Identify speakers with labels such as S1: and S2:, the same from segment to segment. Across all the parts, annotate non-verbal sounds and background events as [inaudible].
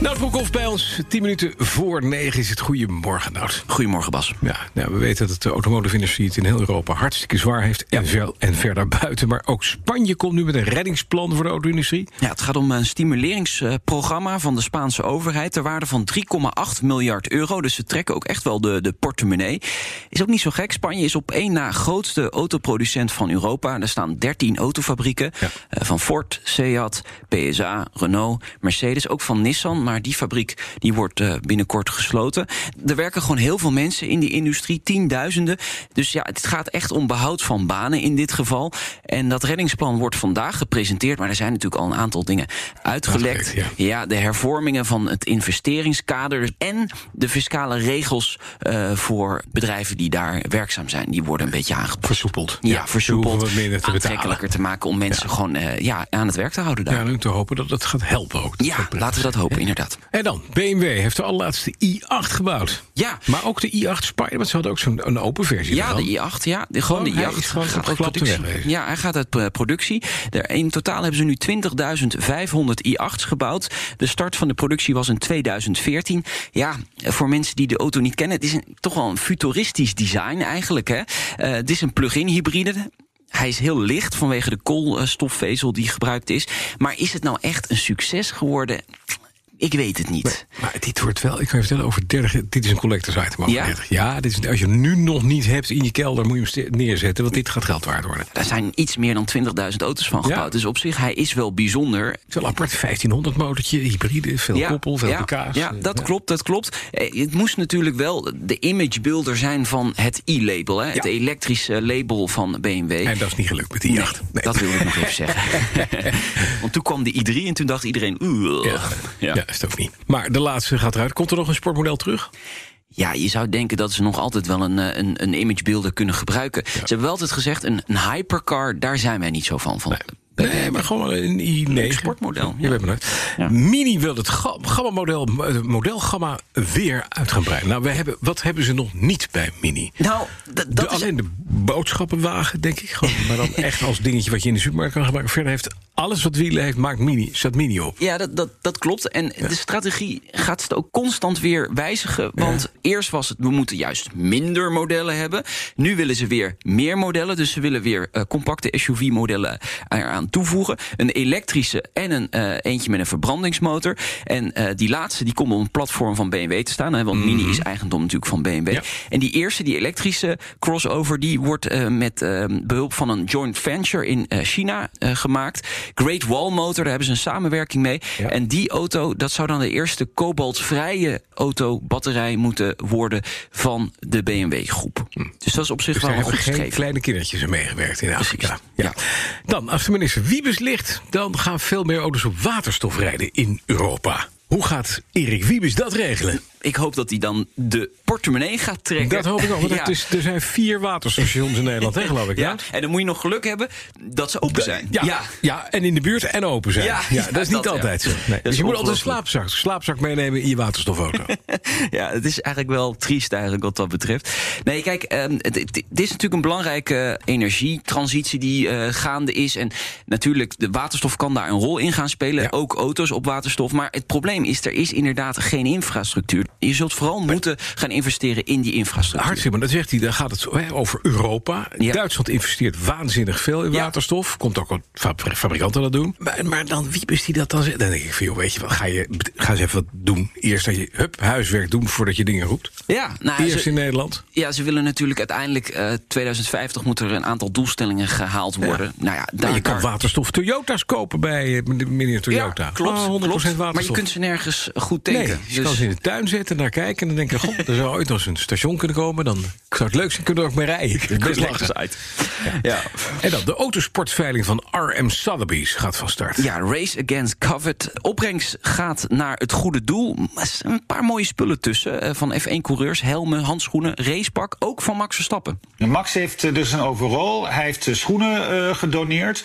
S1: Nout Broekhoff bij ons, 10 minuten voor 9 is het. Goedemorgen, Nout.
S2: Goedemorgen, Bas.
S1: Ja, nou, we weten dat de automotive-industrie het in heel Europa hartstikke zwaar heeft. En, ver, en verder buiten. Maar ook Spanje komt nu met een reddingsplan voor de auto-industrie.
S2: Ja, het gaat om een stimuleringsprogramma van de Spaanse overheid. Ter waarde van 3,8 miljard euro. Dus ze trekken ook echt wel de, de portemonnee. Is ook niet zo gek. Spanje is op één na grootste autoproducent van Europa. Er staan 13 autofabrieken.
S1: Ja.
S2: eh, Van Ford, Seat, PSA, Renault, Mercedes. Ook van Nissan. Maar die fabriek die wordt eh, binnenkort gesloten. Er werken gewoon heel veel mensen in die industrie. Tienduizenden. Dus ja, het gaat echt om behoud van banen in dit geval. En dat reddingsplan wordt vandaag gepresenteerd. Maar er zijn natuurlijk al een aantal dingen uitgelekt.
S1: Uitgelekt,
S2: ja. de hervormingen van het investeringskader. En de fiscale regels eh, voor bedrijven die daar werkzaam zijn. Die worden een beetje aangepast.
S1: Versoepeld.
S2: Ja,
S1: Ja,
S2: versoepeld.
S1: ze hoeven wat minder te betalen.
S2: aantrekkelijker te maken om mensen gewoon eh, ja, aan het werk te houden daar.
S1: Ja, en ook te hopen dat dat gaat helpen ook. Dat
S2: Ja,
S1: gaat prettig
S2: laten we dat
S1: zijn,
S2: hopen,
S1: hè?
S2: inderdaad.
S1: En dan, BMW heeft de allerlaatste i8 gebouwd.
S2: Ja.
S1: Maar ook de i8 Spider, want ze hadden ook zo'n een open versie
S2: Ja,
S1: ervan.
S2: de i8. Ja, de, gewoon
S1: Oh,
S2: de
S1: hij
S2: i8.
S1: is gewoon
S2: gaat uit
S1: opgeklapt weg.
S2: productie. Ja, hij gaat uit eh, productie. Er, in totaal hebben ze nu 20.500 i8's gebouwd. De start van de productie was in 2014. Ja, eh, voor mensen die de auto niet kennen, het is een, toch wel een futuristisch design eigenlijk. Hè? Eh, het is een plug-in hybride. Hij is heel licht vanwege de koolstofvezel die gebruikt is. Maar is het nou echt een succes geworden? Ik weet het niet.
S1: Maar dit wordt wel, ik kan je vertellen, over 30... Dit is een collectors item, over
S2: Ja?
S1: 30. Ja, dit is, als je hem nu nog niet hebt in je kelder, moet je hem ste- neerzetten. Want dit gaat geld waard worden.
S2: Daar zijn iets meer dan 20.000 auto's van
S1: Ja.
S2: gebouwd. Dus op zich, hij is wel bijzonder.
S1: Het is wel apart, 1500 motortje, hybride, veel koppel, veel eh,
S2: ja,
S1: pk's.
S2: Ja, dat klopt, dat klopt. Eh, Het moest natuurlijk wel de imagebuilder zijn van het i-label. Hè? Het
S1: Ja.
S2: elektrische label van BMW.
S1: En dat is niet gelukt met die jacht. Nee.
S2: Dat wilde ik nog even zeggen.
S1: [laughs]
S2: Want toen kwam de i3 en toen dacht iedereen... "Oeh."
S1: Ja. Ja. is het ook niet. Maar de laatste gaat eruit. Komt er nog een sportmodel terug?
S2: Ja, je zou denken dat ze nog altijd wel een, eh, een, een imagebuilder kunnen gebruiken. Ze hebben wel altijd gezegd, een, een hypercar, daar zijn wij niet zo van. van
S1: Nee, maar gewoon een i9.
S2: sportmodel,
S1: Je
S2: ja.
S1: weet maar nooit. Mini wil het ga- gamma-model eh, model gamma weer uit gaan breiden. Nou, we hebben, wat hebben ze nog niet bij Mini?
S2: Nou, d- dat
S1: de,
S2: is...
S1: alleen de boodschappenwagen, denk ik. Gewoon, maar dan echt als dingetje wat je in de supermarkt kan gebruiken. Verder heeft alles wat wielen heeft, maakt mini, staat mini op.
S2: Ja, dat, dat, dat klopt. En de strategie gaat het ook constant weer wijzigen. Want eerst was het, we moeten juist minder modellen hebben. Nu willen ze weer meer modellen. Dus ze willen weer eh, compacte SUV-modellen eh, eraan toevoegen. Een elektrische en een eh, eentje met een verbrandingsmotor. En eh, die laatste die komt op een platform van BMW te staan. Hè, want Mini is eigendom natuurlijk van BMW.
S1: Ja.
S2: En die eerste, die elektrische crossover, die wordt eh, met eh, behulp van een joint venture in eh, China eh, gemaakt. Great Wall Motor, daar hebben ze een samenwerking mee.
S1: Ja.
S2: En die auto, dat zou dan de eerste kobaltvrije autobatterij moeten worden van de BMW-groep. Dus dat is op zich
S1: Dus
S2: wel
S1: daar hebben
S2: een goed
S1: geen
S2: streven.
S1: kleine kindertjes aan meegewerkt in Afrika.
S2: Ja.
S1: Dan, als de minister Wiebes ligt, dan gaan veel meer auto's op waterstof rijden in Europa. Hoe gaat Erik Wiebes dat regelen?
S2: Ik hoop dat hij dan de portemonnee gaat trekken.
S1: Dat hoop ik ook, want
S2: Ja.
S1: het is, er zijn vier waterstations in Nederland, hè, geloof ik.
S2: Ja,
S1: Nout?
S2: en dan moet je nog geluk hebben dat ze open zijn.
S1: Ja, ja. en in de buurt en open zijn. Ja,
S2: Ja,
S1: dat is
S2: ja,
S1: niet
S2: dat,
S1: altijd
S2: ja.
S1: zo.
S2: Dat
S1: Nee.
S2: is
S1: Dus je moet altijd een
S2: ongelooflijk.
S1: slaapzak, slaapzak meenemen in je waterstofauto.
S2: [laughs] ja, het is eigenlijk wel triest eigenlijk wat dat betreft. Nee, kijk, ehm, het- het- dit is natuurlijk een belangrijke eh, energietransitie die eh, gaande is. En natuurlijk, de waterstof kan daar een rol in gaan spelen.
S1: Ja.
S2: Ook auto's op waterstof. Maar het probleem is, er is inderdaad geen infrastructuur. Je zult vooral moeten gaan investeren in die infrastructuur.
S1: Hartstikke, maar dat zegt hij. Dan gaat het hè, over Europa.
S2: Ja.
S1: Duitsland investeert waanzinnig veel in
S2: Ja.
S1: waterstof. Komt ook wat fab- fabrikanten dat doen. Maar, maar dan wie is die dat dan? zegt? Dan denk ik van, joh, weet je wat, ga, je, ga eens even wat doen. Eerst dat je hup, huiswerk doen voordat je dingen roept.
S2: Ja, nou,
S1: Eerst
S2: ze-
S1: in Nederland.
S2: Ja, ze willen natuurlijk uiteindelijk eh 2050 moeten er een aantal doelstellingen gehaald worden. Nou ja,
S1: Maar
S2: daar,
S1: je kan
S2: daar-
S1: waterstof Toyota's kopen bij eh, meneer Toyota.
S2: Ja, klopt,
S1: Ah, 100%
S2: klopt.
S1: waterstof.
S2: Maar je kunt ze nergens goed tanken.
S1: Nee, je kan
S2: Dus-
S1: ze in de tuin neerzet en daar kijken. En dan denk ik, god, er zou ooit nog eens een station kunnen komen. Dan zou het leuk zijn, kunnen we er ook mee
S2: [laughs]
S1: rijden. Het is best lekker.
S2: uit. Ja.
S1: En dan, de autosportveiling van RM Sotheby's gaat van start.
S2: ja, Race Against Covet. Opbrengst gaat naar het goede doel. Er zijn Een paar mooie spullen tussen. eh, Van F1-coureurs, helmen, handschoenen, racepak. Ook van Max Verstappen.
S3: Max heeft eh, dus een overall. Hij heeft eh, schoenen eh, gedoneerd.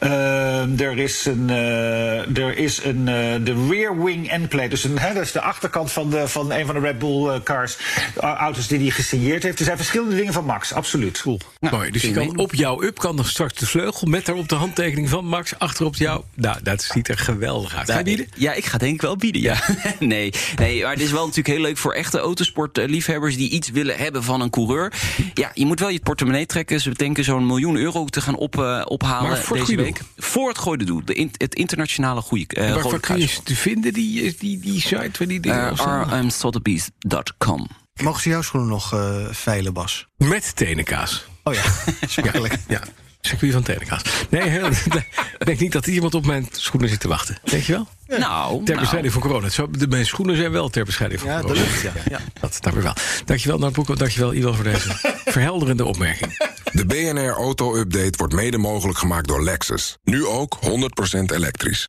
S3: Eh, er is een, eh, er is een eh, de rear wing endplate. Dus een, hè, dat is de achterkant van, de, van een van de Red Bull eh, cars. eh, auto's die hij gesigneerd heeft. Er zijn verschillende dingen van Max, absoluut.
S2: Nou,
S1: Mooi. Dus je
S2: vind ik
S1: kan op jouw up kan nog straks de vleugel met daarop de handtekening van Max achterop jou. Nou, dat ziet er geweldig uit. Ga je bieden?
S2: Ja, ik ga denk ik wel bieden, ja. [laughs] nee, nee, maar het is wel natuurlijk heel leuk voor echte autosportliefhebbers... die iets willen hebben van een coureur. Ja, je moet wel je portemonnee trekken. Ze denken zo'n miljoen euro te gaan op, eh, ophalen
S1: Maar voor het
S2: deze
S1: goede
S2: week. Voor het goede doel. De in- het internationale goede, eh
S1: Waar,
S2: Rode
S1: waar kun je
S2: Kruis.
S1: ze te vinden, die, eh, die, die site waar die dingen op staan?
S2: Eh, rmsotheby's.com.
S4: Mogen ze jouw schoenen nog eh, veilen, Bas?
S1: Met tenenkaas.
S4: Oh ja, [laughs] smakelijk.
S1: Ja, circuit van tenenkaas. Nee, heel, [laughs] ik denk niet dat iemand op mijn schoenen zit te wachten. Weet je wel?
S2: Nou,
S1: Ter
S2: nou.
S1: bescheiding van corona. Het zou- de, mijn schoenen zijn wel ter bescheiding van
S4: Ja, de
S1: corona.
S4: lucht, Oh, ja. Ja.
S1: Dat snap ik wel. Dankjewel, Narboeko. Dankjewel, Iwan, voor deze verhelderende opmerking.
S5: De BNR Auto Update wordt mede mogelijk gemaakt door Lexus. Nu ook 100% elektrisch.